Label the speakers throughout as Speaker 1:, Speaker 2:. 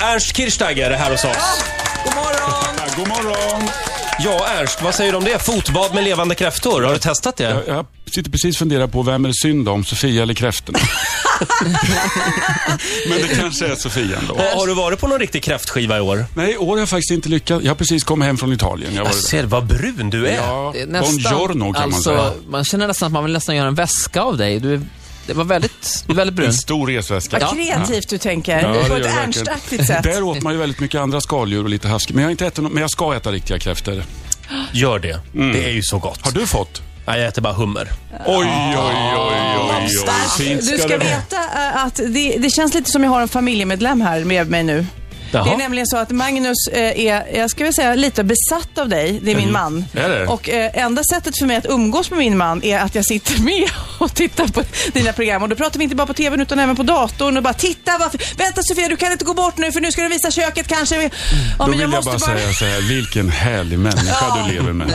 Speaker 1: Ernst Kirchsteiger är här hos oss.
Speaker 2: God morgon!
Speaker 3: Ja, God morgon!
Speaker 1: Ja, Ernst, vad säger du om det? Fotbad med levande kräftor, har du testat det?
Speaker 3: Jag, jag sitter precis och funderar på vem är det synd om, Sofia eller kräftorna? Men det kanske är Sofia ändå.
Speaker 1: Har- Har du varit på någon riktig kräftskiva i år?
Speaker 3: Nej, i år har jag faktiskt inte lyckats. Jag har precis kommit hem från Italien. Jag har
Speaker 1: Jag
Speaker 3: varit där.
Speaker 1: ser vad brun du Alltså, är.
Speaker 3: Ja,
Speaker 2: Det är
Speaker 3: buongiorno kan
Speaker 2: alltså,
Speaker 3: man säga.
Speaker 2: Man känner nästan att man vill nästan göra en väska av dig. Du, är- det var väldigt, väldigt brun.
Speaker 3: En stor resväska.
Speaker 4: Vad kreativt du tänker.
Speaker 3: Ja, det
Speaker 4: på
Speaker 3: gör
Speaker 4: ett
Speaker 3: jag verkligen.
Speaker 4: Ernstaktigt sätt.
Speaker 3: Där åt man ju väldigt mycket andra skaldjur och lite havskräftor. Men jag har inte ätit något, men jag ska äta riktiga kräftor.
Speaker 1: Gör det. Det är ju så gott.
Speaker 3: Har du fått?
Speaker 1: Nej, jag äter bara hummer.
Speaker 3: Oj, oj, oj, oj, oj. Fint
Speaker 4: Du ska
Speaker 3: det vara.
Speaker 4: veta eh, att det, det känns lite som jag har en familjemedlem här med mig nu. Det är
Speaker 1: Jaha.
Speaker 4: nämligen så att Magnus eh, är, jag ska väl säga, lite besatt av dig. Det är
Speaker 3: Mm.
Speaker 4: min man.
Speaker 3: Är det?
Speaker 4: Och eh, enda sättet för mig att umgås med min man är att jag sitter med och tittar på dina program. Och då pratar vi inte bara på TVn utan även på datorn och bara titta. Varför? Vänta Sofia, du kan inte gå bort nu för nu ska du visa köket kanske. Ja,
Speaker 3: Mm, Då vill jag, bara säga så här, vilken härlig människa du lever med.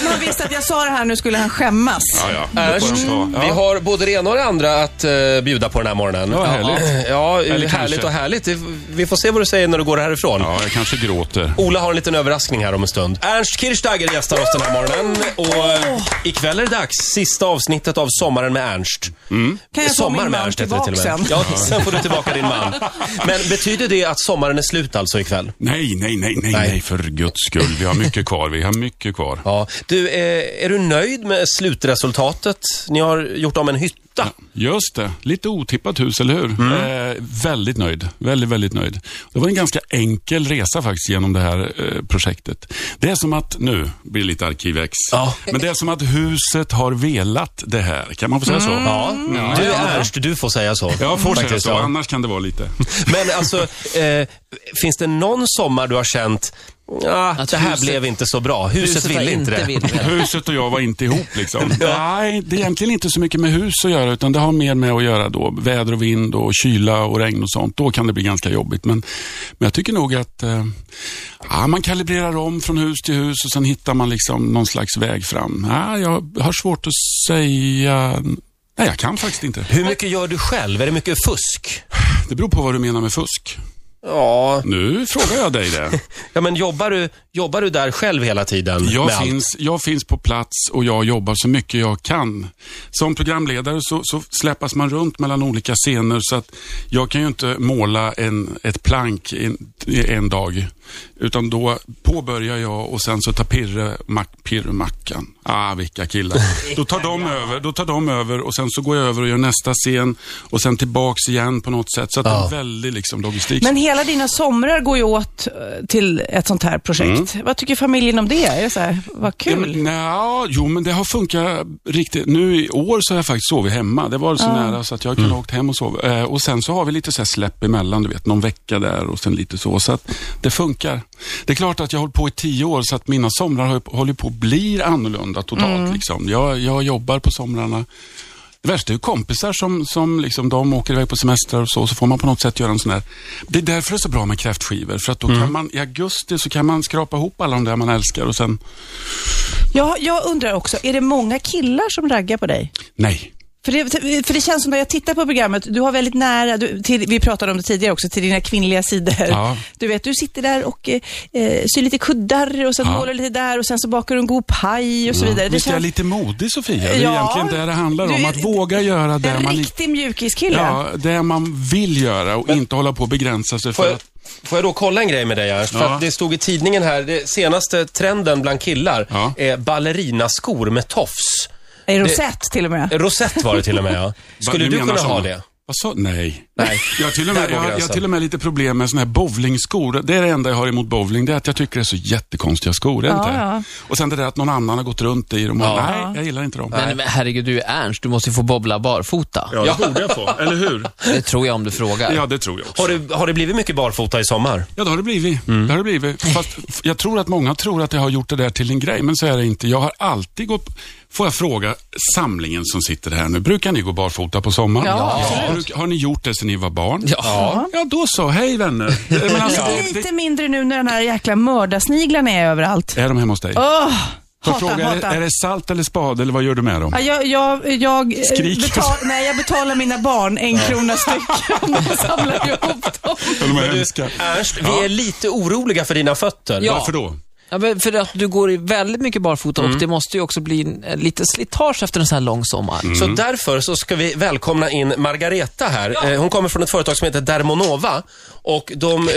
Speaker 4: Om han visste att jag sa det här nu skulle han skämmas.
Speaker 3: Ja, ja. Det får
Speaker 1: Ernst,
Speaker 3: de ta.
Speaker 1: vi
Speaker 3: Ja.
Speaker 1: har både det ena och det andra att eh, bjuda på den här morgonen.
Speaker 3: Ja, härligt.
Speaker 1: Ja,
Speaker 3: Eller
Speaker 1: härligt
Speaker 3: kanske.
Speaker 1: och härligt. Vi får se vad du säger när du går härifrån.
Speaker 3: Ja, jag kanske gråter.
Speaker 1: Ola har en liten överraskning här om en stund. Ernst Kirchsteiger gästar oss den här morgonen. Och eh, ikväll är det dags. Sista avsnittet av Sommaren med Ernst.
Speaker 4: Kan jag få
Speaker 1: Sommar
Speaker 4: Eh, min
Speaker 1: med
Speaker 4: man
Speaker 1: Ernst heter det till
Speaker 4: tillbaka
Speaker 1: och med.
Speaker 4: sen?
Speaker 1: Ja, sen får du tillbaka din man. Men betyder det att sommaren är slut alltså ikväll?
Speaker 3: Nej, nej, nej, nej, nej, för guds skull. Vi har mycket kvar. Vi har mycket kvar.
Speaker 1: Ja. Du, eh, är du nöjd med slutresultatet? Ni har gjort om en hytta.
Speaker 3: Just det. Lite otippat hus, eller hur?
Speaker 1: Mm.
Speaker 3: Eh, väldigt nöjd. Väldigt, väldigt nöjd. Det var en ganska enkel resa faktiskt genom det här eh, projektet. Det är som att, nu blir det lite arkivex,
Speaker 1: Ja.
Speaker 3: men det är som att huset har velat det här. Kan man få säga så?
Speaker 1: Mm. Ja. Du Ernst, du får säga så.
Speaker 3: Jag får säga
Speaker 1: Faktiskt,
Speaker 3: så,
Speaker 1: ja.
Speaker 3: annars kan det vara lite.
Speaker 1: Men alltså, eh, finns det någon sommar du har känt, ah,
Speaker 2: Att
Speaker 1: det här
Speaker 2: huset-
Speaker 1: blev inte så bra. Huset,
Speaker 2: Huset var
Speaker 1: ville inte det.
Speaker 2: vill det.
Speaker 3: Huset och jag var inte ihop liksom. Nej, det är egentligen inte så mycket med hus att göra utan det har mer med att göra då. Väder och vind och kyla och regn och sånt. Då kan det bli ganska jobbigt. Men, men jag tycker nog att eh, ja, man kalibrerar om från hus till hus och sen hittar man liksom någon slags väg fram. Ja, jag har svårt att säga... Nej, jag kan faktiskt inte.
Speaker 1: Hur mycket gör du själv? Är det mycket fusk?
Speaker 3: Det beror på vad du menar med fusk.
Speaker 1: Ja,
Speaker 3: Nu frågar jag dig det.
Speaker 1: ja men jobbar du, jobbar du där själv hela tiden? med
Speaker 3: Jag
Speaker 1: allt?
Speaker 3: finns, jag finns på plats och jag jobbar så mycket jag kan. Som programledare så, så släpas man runt mellan olika scener så att jag kan ju inte måla en, ett plank i en, i en dag. Utan då påbörjar jag och sen så tar Pirre, Mac, Pirre Mackan. Ah, vilka killar. Då tar, de över, då tar de över och sen så går jag över och gör nästa scen och sen tillbaks igen på något sätt. Så att det är
Speaker 1: Ja.
Speaker 3: en väldig liksom, logistik.
Speaker 4: Men hela dina somrar går ju åt eh, till ett sånt här projekt. Vad tycker familjen om det? Är det så här, vad
Speaker 3: Mm. Ja,
Speaker 4: kul?
Speaker 3: men, nja, jo, men det har funkat riktigt. Nu i år så har jag faktiskt sovit hemma. Det var så nära så att jag kunde ha åkt hem och sovit. Eh, och sen så har vi lite så här släpp emellan, du vet, någon vecka där och sen lite så. Så att det funkar. Det är klart att jag har hållit på i tio år så att mina somrar har, ju- håller på att bli annorlunda totalt. Liksom. Jag, jag jobbar på somrarna. Det värsta är ju kompisar som, som liksom, de åker iväg på semester och så, så får man på något sätt göra en sån där. Det är därför det är så bra med kräftskivor, för att då kan man i augusti så kan man skrapa ihop alla de där man älskar och sen,
Speaker 4: Ja, jag undrar också, är det många killar som raggar på dig?
Speaker 3: nej,
Speaker 4: För det, för det känns som när jag tittar på programmet, du har väldigt nära, du, till, vi pratade om det tidigare också, till dina kvinnliga sidor.
Speaker 3: Ja.
Speaker 4: Du vet, du sitter där och eh, eh, syr lite kuddar och sen
Speaker 3: Ja. Mm.
Speaker 4: målar lite där och sen så bakar du en god paj och så vidare.
Speaker 3: Visst är jag lite modig Sofia? Det är
Speaker 4: Ja.
Speaker 3: egentligen det det handlar
Speaker 4: Du
Speaker 3: om.
Speaker 4: är
Speaker 3: Att våga göra det
Speaker 4: en
Speaker 3: man,
Speaker 4: riktig mjukiskille.
Speaker 3: ja, det man vill göra och inte hålla på och begränsa sig
Speaker 1: Får
Speaker 3: för
Speaker 1: jag,
Speaker 3: att...
Speaker 1: får jag då kolla en grej med dig Ernst? För
Speaker 3: Ja.
Speaker 1: att det stod i tidningen här, det senaste trenden bland killar
Speaker 3: Ja.
Speaker 1: är ballerinaskor med tofs.
Speaker 4: En rosett till och med.
Speaker 1: Rosett var det till och med ja. Skulle
Speaker 3: Vad-
Speaker 1: du
Speaker 3: menar
Speaker 1: kunna
Speaker 3: såna?
Speaker 1: ha det?
Speaker 3: Vad sa Nej.
Speaker 1: Nej.
Speaker 3: Jag har till och
Speaker 1: Där
Speaker 3: med,
Speaker 1: går
Speaker 3: jag, har- jag har
Speaker 1: gränsen.
Speaker 3: till och med lite problem med sådana här bowlingskor. Det är det enda jag har emot bowling, det är att jag tycker det är så jättekonstiga skor. Är det
Speaker 4: Ja,
Speaker 3: inte?
Speaker 4: ja.
Speaker 3: Och sen det där att någon annan har gått runt i dem. Och,
Speaker 1: Ja.
Speaker 3: Nej, jag gillar inte dem.
Speaker 2: Men, men herregud, du är Ernst. Du måste ju få bobbla barfota.
Speaker 3: Ja, det borde jag få, eller hur?
Speaker 2: Det tror jag om du frågar.
Speaker 3: Ja, det tror jag också.
Speaker 1: Har, det, har det blivit mycket barfota i sommar?
Speaker 3: Ja, det har det blivit. Det har det blivit. Fast f- jag tror att många tror att jag har gjort det där till en grej, men så är det inte. Jag har alltid gått... Får jag fråga samlingen som sitter här nu, brukar ni gå barfota på sommaren?
Speaker 4: Ja,
Speaker 3: Bruk, har ni gjort det sedan ni var barn?
Speaker 2: Ja.
Speaker 3: Ja, då så. Hej vänner. Men alltså, det,
Speaker 4: Lite mindre nu när den här jäkla mördarsniglarna är överallt.
Speaker 3: det, är de hemma hos dig?
Speaker 4: Åh!
Speaker 3: Jag
Speaker 4: Hatar,
Speaker 3: frågar, är det-
Speaker 4: hatar.
Speaker 3: är det salt eller spade eller vad gör du med dem?
Speaker 4: Ja, jag, jag, jag, eh,
Speaker 3: Skrik.
Speaker 4: betal, nej, jag betalar mina barn en krona styck om jag samlar ihop dem.
Speaker 3: De är
Speaker 1: Men du,
Speaker 3: hemska.
Speaker 1: Ernst, vi
Speaker 3: Ja.
Speaker 1: är lite oroliga för dina fötter.
Speaker 2: Ja.
Speaker 3: Varför då?
Speaker 2: Ja, men för att du går i väldigt mycket barfota och det måste ju också bli en, en lite slitage efter en sån här lång sommar.
Speaker 1: Mm. Så därför så ska vi välkomna in Margareta här. Eh, Hon kommer från ett företag som heter Dermonova och de... Eh,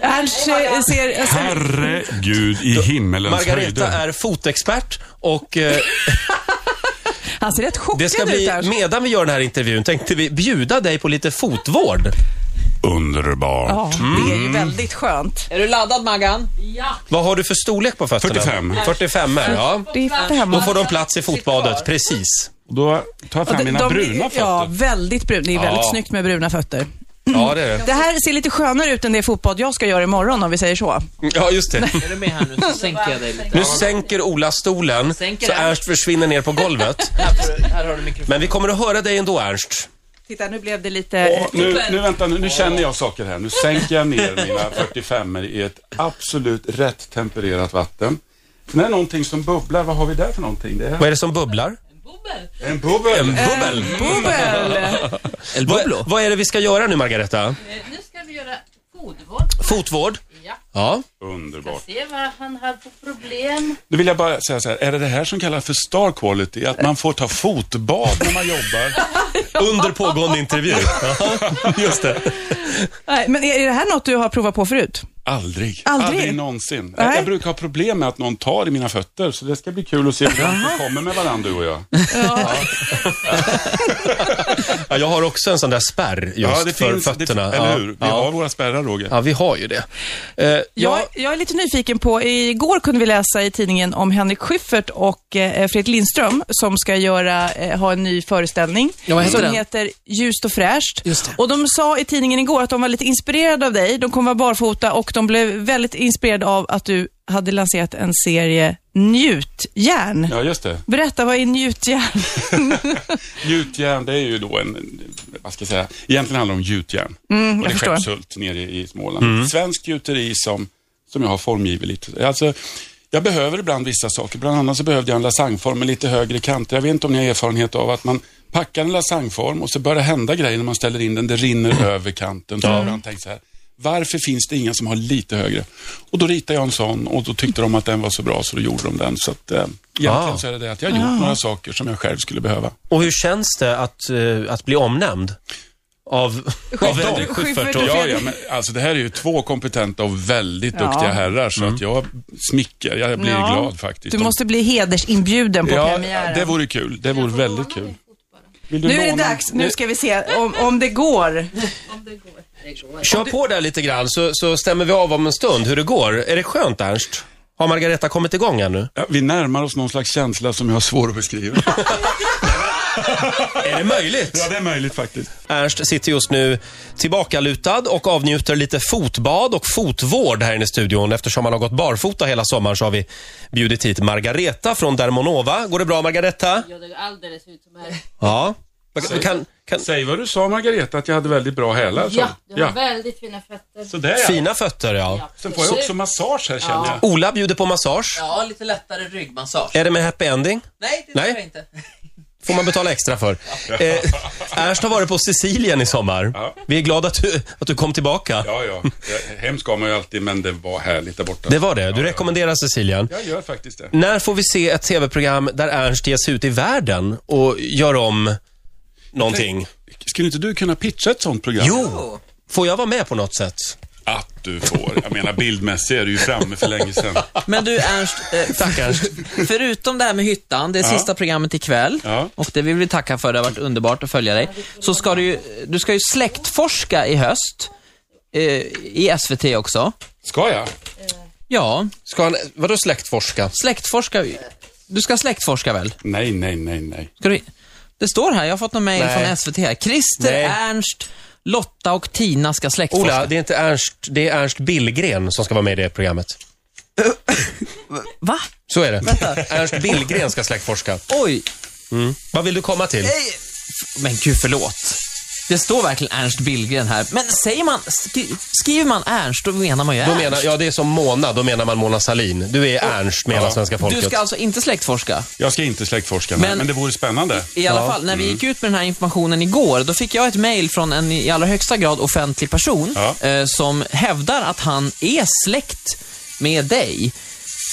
Speaker 4: Ernst eh, ser... Alltså,
Speaker 3: Herregud i himmelens
Speaker 1: Margareta
Speaker 3: höjder.
Speaker 1: är fotexpert och eh,
Speaker 4: han ser rätt chockad
Speaker 1: det ska
Speaker 4: ut
Speaker 1: bli,
Speaker 4: Ernst.
Speaker 1: medan vi gör den här intervjun, tänkte vi bjuda dig på lite fotvård.
Speaker 3: Underbart.
Speaker 4: Ja, det
Speaker 3: Mm.
Speaker 4: är ju väldigt skönt.
Speaker 2: Är du laddad Maggan?
Speaker 1: Vad har du för storlek på fötterna?
Speaker 3: 45.
Speaker 1: 45, ja.
Speaker 4: Det är
Speaker 1: Då
Speaker 4: femma.
Speaker 1: får de plats i fotbadet, precis.
Speaker 3: Då tar jag fram mina
Speaker 4: De- de-
Speaker 3: bruna
Speaker 4: Ja,
Speaker 3: fötter.
Speaker 4: väldigt bruna. Det är väldigt
Speaker 1: Ja.
Speaker 4: snyggt med bruna fötter.
Speaker 1: Ja, det är det.
Speaker 4: Det här ser lite skönare ut än det fotbad jag ska göra imorgon om vi säger så.
Speaker 1: Ja, just det.
Speaker 2: Är du med här nu så sänker jag dig lite.
Speaker 1: Nu sänker Ola stolen,
Speaker 2: Sänker
Speaker 1: så
Speaker 2: den.
Speaker 1: Ernst försvinner ner på golvet.
Speaker 2: Här, får du- här har du mikrofonen.
Speaker 1: Men vi kommer att höra dig ändå, Ernst.
Speaker 4: Titta, nu blev det lite...
Speaker 3: Åh, nu, nu vänta, nu, nu känner jag saker här. Nu sänker jag ner mina 45 i ett absolut rätt tempererat vatten. Sen är det någonting som bubblar. Vad har vi där för någonting? Det är
Speaker 1: Vad är det som bubblar?
Speaker 3: en bubbel.
Speaker 1: Bubbel.
Speaker 4: Bubbel!
Speaker 2: El Bubblo.
Speaker 1: Vad, vad är det vi ska göra nu, Margareta?
Speaker 5: Eh, Nu ska vi göra fotvård.
Speaker 1: Fotvård?
Speaker 5: Ja.
Speaker 1: Ja.
Speaker 3: Underbart.
Speaker 5: Se vad han har för problem.
Speaker 3: Nu vill jag bara säga så här, är det det här som kallas för star quality? Att man får ta fotbad när man jobbar?
Speaker 1: Under pågående intervju. Ja, Just det.
Speaker 4: Nej, men är är det här något du har provat på förut?
Speaker 3: Aldrig.
Speaker 4: Aldrig?
Speaker 3: någonsin.
Speaker 4: Nej.
Speaker 3: Jag brukar ha problem med att någon tar i mina fötter, så det ska bli kul att se hur långt vi kommer med varandra, du och jag.
Speaker 1: Ja, jag har också en sån där spärr just för fötterna.
Speaker 3: Det, eller
Speaker 1: Ja.
Speaker 3: hur? Vi
Speaker 1: Ja.
Speaker 3: har våra spärrar, Roger.
Speaker 1: ja, vi har ju det. Eh,
Speaker 4: Jag,
Speaker 1: ja,
Speaker 4: jag är lite nyfiken på, igår kunde vi läsa i tidningen om Henrik Schyffert och eh, Fredrik Lindström som ska göra, eh, ha en ny föreställning.
Speaker 2: Ja, vad heter
Speaker 4: som
Speaker 2: den?
Speaker 4: heter Ljust och fräscht.
Speaker 2: Just det.
Speaker 4: Och de sa i tidningen igår att de var lite inspirerade av dig. De kommer vara barfota och de blev väldigt inspirerade av att du hade lanserat en serie Njutjärn.
Speaker 3: Ja, just det.
Speaker 4: Berätta, vad är njutjärn?
Speaker 3: Gjutjärn, det är ju då en, vad ska jag säga, egentligen handlar det om gjutjärn. och det är
Speaker 4: förstår.
Speaker 3: Skeppshult nere i i Småland.
Speaker 1: Mm.
Speaker 3: Svensk gjuteri som, som jag har formgivit lite. Alltså, jag behöver ibland vissa saker, bland annat så behövde jag en lasagneform med lite högre kanter. Jag vet inte om ni har erfarenhet av att man packar en lasagneform och så börjar det hända grejer när man ställer in den, det
Speaker 1: Mm.
Speaker 3: rinner över kanten. Så har man tänkt så här, varför finns det ingen som har lite högre? Och då ritade jag en sån och då tyckte de att den var så bra så då gjorde de den. Så att, eh, egentligen
Speaker 1: Ah.
Speaker 3: så är det det att jag har gjort några saker som jag själv skulle behöva.
Speaker 1: och hur känns det att, eh, att bli omnämnd? Av, av Henrik Schyffert
Speaker 4: Schyffert
Speaker 1: och...
Speaker 4: och-
Speaker 3: Ja, ja, men alltså det här är ju två kompetenta och väldigt
Speaker 4: Ja.
Speaker 3: duktiga herrar, så att jag smicker, jag blir
Speaker 4: Ja.
Speaker 3: glad faktiskt.
Speaker 4: Du
Speaker 3: De-
Speaker 4: måste bli hedersinbjuden på
Speaker 3: ja,
Speaker 4: premiären.
Speaker 3: det vore kul. Det vore väldigt kul. Vill du
Speaker 4: Nu är det
Speaker 3: låna-
Speaker 4: dags, nu ska vi se om, om det går.
Speaker 1: Kör på där lite grann så, så stämmer vi av om en stund hur det går. Är det skönt, Ernst? Har Margareta kommit igång ännu?
Speaker 3: Ja, vi närmar oss någon slags känsla som jag har svår att beskriva.
Speaker 1: Är det möjligt?
Speaker 3: ja, det är möjligt faktiskt.
Speaker 1: Ernst sitter just nu tillbakalutad och avnjuter lite fotbad och fotvård här inne i studion. Eftersom han har gått barfota hela sommaren så har vi bjudit hit Margareta från Dermonova. Går det bra Margareta?
Speaker 5: Ja, det är alldeles utmärkt.
Speaker 1: Ja. Kan, kan,
Speaker 3: Säg vad du sa Margareta, att jag hade väldigt bra hälar. Så.
Speaker 5: Ja, du har
Speaker 3: ja.
Speaker 5: väldigt fina fötter.
Speaker 3: Sådär ja.
Speaker 1: fina fötter ja.
Speaker 3: Sen får jag också massage här känner jag.
Speaker 1: Ola bjuder på massage.
Speaker 2: Ja, lite lättare ryggmassage.
Speaker 1: Är det med happy ending?
Speaker 2: Nej, det
Speaker 1: Nej.
Speaker 2: tror jag inte.
Speaker 1: Får man betala extra för. Eh, Ernst har varit på Sicilien i sommar.
Speaker 3: Ja.
Speaker 1: Vi är glada att du, att du kom tillbaka.
Speaker 3: Ja, ja. Jag- Hem ska man ju alltid, men det var härligt där borta.
Speaker 1: Det var det. Du rekommenderar Sicilien.
Speaker 3: Jag gör faktiskt det.
Speaker 1: När får vi se ett tv-program där Ernst ges ut i världen och gör om någonting?
Speaker 3: Skulle inte du kunna pitcha ett sånt program?
Speaker 1: Jo! Får jag vara med på något sätt?
Speaker 3: Att du får. Jag menar bildmässigt är du ju framme för länge sedan.
Speaker 2: Men du Ernst, eh,
Speaker 1: Tack Ernst.
Speaker 2: förutom det här med hyttan, det är sista programmet ikväll.
Speaker 3: Ja.
Speaker 2: Och det vill vi tacka för, det har varit underbart att följa dig. Så ska du ju, du ska ju släktforska i höst. eh, I SVT också.
Speaker 3: Ska jag?
Speaker 2: Ja,
Speaker 1: Ska han, vadå släktforska?
Speaker 2: släktforska. Du ska släktforska väl?
Speaker 3: Nej, nej, nej, nej.
Speaker 2: Ska du... Det står här, jag har fått någon mail
Speaker 1: Nej.
Speaker 2: från SVT här. Christer,
Speaker 1: Nej.
Speaker 2: Ernst, Lotta och Tina ska släktforska.
Speaker 1: Ola, det är inte Ernst, det är Ernst Billgren som ska vara med i det programmet.
Speaker 2: Va?
Speaker 1: Så är det. Ernst Billgren ska släktforska.
Speaker 2: Oj,
Speaker 1: Vad vill du komma till?
Speaker 2: Men gud, förlåt. Det står verkligen Ernst Billgren här. Men säger man, skri, skriver man Ernst, då menar man ju
Speaker 1: Då
Speaker 2: Ernst.
Speaker 1: menar, ja, det är som Mona, då menar man Mona Salin. Du är Ernst, menar svenska
Speaker 2: du
Speaker 1: folket.
Speaker 2: ska alltså inte släktforska?
Speaker 3: Jag ska inte släktforska, men,
Speaker 2: Men-
Speaker 3: men det vore spännande.
Speaker 2: I alla fall,
Speaker 1: Mm.
Speaker 2: när vi gick ut med den här informationen igår, då fick jag ett mejl från en i allra högsta grad offentlig person
Speaker 3: Ja.
Speaker 2: eh, som hävdar att han är släkt med dig.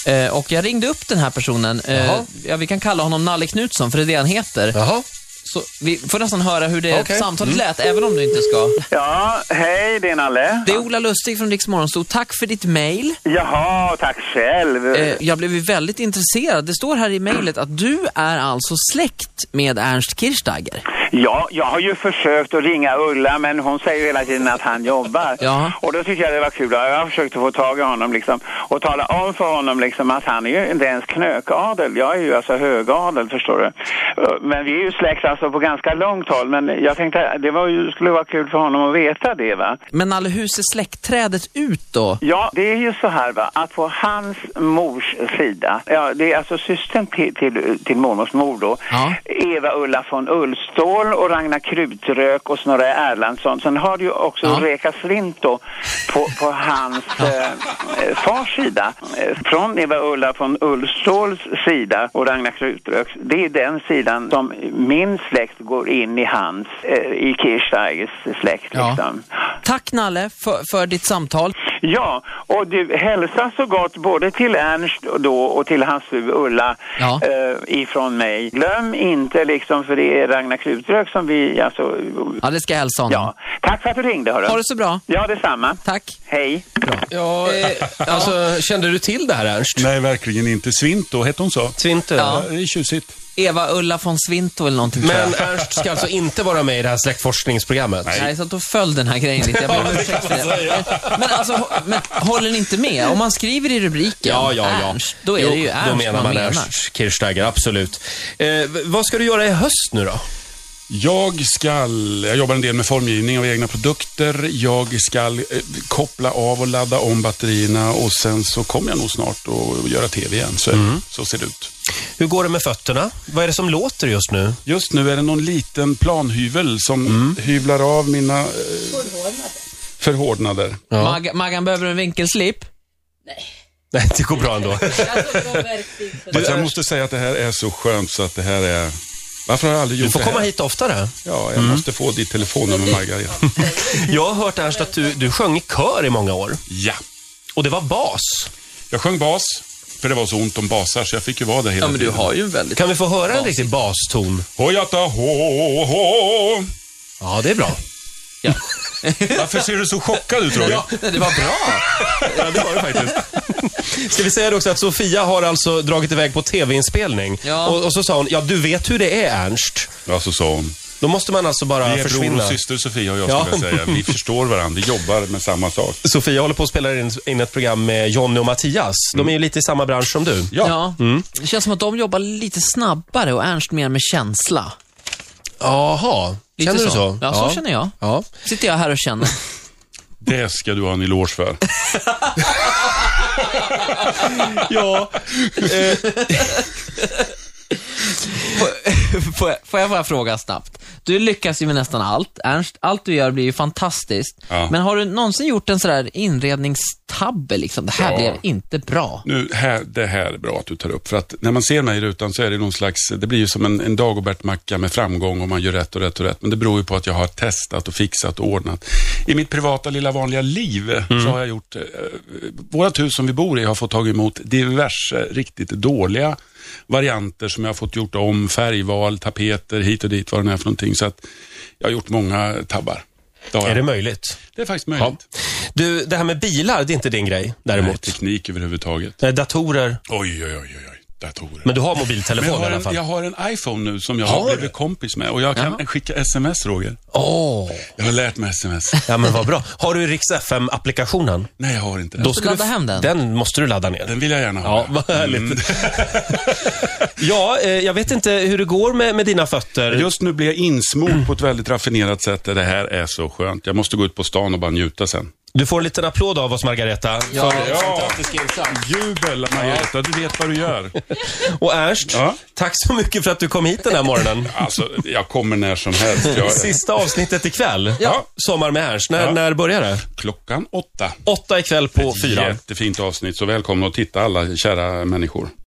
Speaker 2: Eh, och jag ringde upp den här personen, eh,
Speaker 1: Jaha.
Speaker 2: ja, vi kan kalla honom Nalle Knutsson, för det är det han heter.
Speaker 1: Jaha.
Speaker 2: Så vi får nästan höra hur det
Speaker 1: Okej. Mm.
Speaker 2: samtalet lät, även om du inte ska.
Speaker 6: Ja, hej, det är Nalle.
Speaker 2: Det är Ola Lustig från Rix Morgonzoo. Tack för ditt mejl.
Speaker 6: Jaha, tack själv.
Speaker 2: Eh, jag blev ju väldigt intresserad. Det står här i mejlet att du är alltså släkt med Ernst Kirchsteiger.
Speaker 6: Ja, jag har ju försökt att ringa Ulla, men hon säger ju hela tiden att han jobbar.
Speaker 2: Ja.
Speaker 6: Och då tyckte jag det var kul. Jag har försökt att få tag i honom liksom, och tala om för honom liksom, att han är ju inte ens knökadel. Jag är ju alltså högadel, förstår du. Eh, Men vi är ju släkt alltså på ganska långt håll. Men jag tänkte att det var ju, skulle vara kul för honom att veta det, va.
Speaker 2: Men Nalle, hur ser släktträdet ut då?
Speaker 6: Ja, det är ju så här va, att på hans mors sida, ja, det är alltså systern till, till, till mormors mor då,
Speaker 2: Ja.
Speaker 6: Eva-Ulla von Ullstål och Ragnar Krutrök och Snorre Erlandsson. Sen har du ju också
Speaker 2: Ja.
Speaker 6: Reka Svint då på, på hans eh, eh, fars sida. Eh, Från Eva-Ulla von Ullståls sida och Ragnar Krutröks, det är den sidan som min släkt går in i hans, eh, i Kirchsteigers släkt
Speaker 2: Ja.
Speaker 6: liksom.
Speaker 2: Tack Nalle för, för ditt samtal.
Speaker 6: Ja, och du hälsa så gott både till Ernst och då och till hans fru Ulla
Speaker 2: Ja.
Speaker 6: eh, ifrån mig. Glöm inte liksom, för det är Ragnar Krutrök som vi, alltså,
Speaker 2: Ja, det ska jag hälsa honom.
Speaker 6: ja. Tack för att du ringde hörru.
Speaker 2: Mm. Ha det så bra.
Speaker 6: Ja, detsamma.
Speaker 2: Tack.
Speaker 6: Hej.
Speaker 1: Ja, alltså, kände du till det här, Ernst?
Speaker 3: Nej, verkligen inte. Svinto, hette hon så?
Speaker 1: Svinte.
Speaker 2: Ja.
Speaker 3: Det är tjusigt.
Speaker 2: Eva Ulla von Svinto eller någonting. tror jag.
Speaker 1: Men Ernst ska alltså inte vara med i det här släktforskningsprogrammet?
Speaker 2: Nej, så att då föll den här grejen lite. Jag ber om ursäkt för det. Men alltså, hå- men håller ni inte med? Om man skriver i rubriken
Speaker 1: Ja, ja, ja.
Speaker 2: Ernst, då är det ju Ernst
Speaker 1: Då menar man
Speaker 2: menar.
Speaker 1: Ernst Kirchsteiger, absolut. Eh, v- vad ska du göra i höst nu då?
Speaker 3: Jag ska, jag jobbar en del med formgivning av egna produkter. Jag ska eh, koppla av och ladda om batterierna och sen så kommer jag nog snart att göra tv igen. Så, så ser det ut.
Speaker 1: Hur går det med fötterna? Vad är det som låter just nu?
Speaker 3: Just nu är det någon liten planhyvel som hyvlar av mina eh, förhårdnader.
Speaker 2: Mag- Maggan, behöver du en vinkelslip?
Speaker 1: Nej, det går bra ändå.
Speaker 5: Alltså, det var verkligen så.
Speaker 3: Fast jag måste säga att det här är så skönt så att det här är... Varför har jag aldrig
Speaker 1: Du
Speaker 3: gjort
Speaker 1: får
Speaker 3: det här?
Speaker 1: komma Mm. hit oftare.
Speaker 3: Ja, jag måste få ditt telefonnummer, Margareta.
Speaker 1: Jag har hört Ernst att du, du sjöng i kör i många år.
Speaker 3: ja.
Speaker 1: Och det var bas.
Speaker 3: Jag sjöng bas, för det var så ont om basar, så jag fick ju vara där hela tiden.
Speaker 2: ju en väldigt...
Speaker 1: Kan vi få höra en riktig baston?
Speaker 3: Hojata, hå, hå.
Speaker 1: Ja, det är bra.
Speaker 3: Varför ser du så chockad ut, Roger?
Speaker 2: Det var bra.
Speaker 1: Ja, det var det faktiskt. Ska vi säga det också att Sofia har alltså dragit iväg på tv-inspelning.
Speaker 2: Ja.
Speaker 1: Och, och så sa hon, ja du vet hur det är Ernst.
Speaker 3: Ja, så sa hon.
Speaker 1: Då måste man alltså bara
Speaker 3: Vi är bror
Speaker 1: försvinna.
Speaker 3: och syster, Sofia och jag,
Speaker 1: Ja.
Speaker 3: skulle jag säga. Vi förstår varandra, vi jobbar med samma sak.
Speaker 1: Sofia håller på att spela in, in ett program med Jonny och Mattias. De är
Speaker 3: Mm.
Speaker 1: ju lite i samma bransch som du.
Speaker 3: Ja.
Speaker 2: Ja. Det känns som att de jobbar lite snabbare och Ernst mer med känsla.
Speaker 1: Jaha,
Speaker 2: Lite
Speaker 1: känner du så?
Speaker 2: Ja, så känner jag.
Speaker 1: Ja.
Speaker 2: Sitter jag här och känner.
Speaker 3: Det ska du ha en eloge för.
Speaker 1: ja.
Speaker 2: får, jag, får jag bara fråga snabbt? Du lyckas ju med nästan allt. Ernst, allt du gör blir ju fantastiskt.
Speaker 3: Ja.
Speaker 2: Men har du någonsin gjort en sådär inredningstabbe liksom? Det här
Speaker 3: Ja.
Speaker 2: blev inte bra.
Speaker 3: Nu, här, det här är bra att du tar upp, för att när man ser mig i rutan så är det någon slags, det blir ju som en, en Dagobertmacka med framgång om man gör rätt och rätt och rätt, men det beror ju på att jag har testat och fixat och ordnat. I mitt privata lilla vanliga liv
Speaker 1: Mm.
Speaker 3: så har jag gjort, eh, vårat hus som vi bor i har fått tag emot diverse riktigt dåliga varianter som jag har fått gjort om, färgval, tapeter, hit och dit, vad det nu är för någonting, så att jag har gjort många tabbar. Det, har
Speaker 1: Är det
Speaker 3: jag.
Speaker 1: möjligt?
Speaker 3: det är faktiskt
Speaker 1: Ja.
Speaker 3: möjligt.
Speaker 1: Du, det här med bilar, det är inte din grej
Speaker 3: Nej,
Speaker 1: däremot?
Speaker 3: teknik överhuvudtaget.
Speaker 1: Nej, datorer.
Speaker 3: Oj, oj, oj, oj, oj. datorer.
Speaker 1: Men du har
Speaker 3: Men
Speaker 1: mobiltelefon
Speaker 3: jag, har
Speaker 1: i alla
Speaker 3: en,
Speaker 1: fall?
Speaker 3: jag
Speaker 1: Åh!
Speaker 3: har en iPhone nu som jag
Speaker 1: Har
Speaker 3: har
Speaker 1: du?
Speaker 3: blivit kompis med och jag kan skicka sms, Roger. Jag har lärt mig sms.
Speaker 1: Ja, men vad bra. Har du Rix FM-applikationen?
Speaker 3: Nej, jag har inte den.
Speaker 1: Då
Speaker 2: ladda hem den.
Speaker 1: Den måste du ladda ner.
Speaker 3: Den vill jag gärna ha.
Speaker 1: Ja, vad härligt.
Speaker 3: Mm.
Speaker 1: ja, eh, jag vet inte hur det går med, med dina fötter.
Speaker 3: Just nu blir jag insmord på ett väldigt raffinerat sätt. Det här är så skönt. Jag måste gå ut på stan och bara njuta sen.
Speaker 1: Du får en liten applåd av oss, Margareta. För
Speaker 3: ja.
Speaker 1: fantastisk insats.
Speaker 3: Jubel, Margareta. Du vet vad du gör.
Speaker 1: Och Ernst,
Speaker 3: Ja.
Speaker 1: tack så mycket för att du kom hit den här morgonen.
Speaker 3: Alltså, jag kommer när som helst. Jag,
Speaker 1: Sista avsnittet ikväll.
Speaker 3: Ja.
Speaker 1: Sommar med Ernst. När,
Speaker 3: Ja.
Speaker 1: när börjar det?
Speaker 3: klockan åtta.
Speaker 1: Åtta ikväll på fyra.
Speaker 3: Jättefint avsnitt, så välkomna att titta alla kära människor.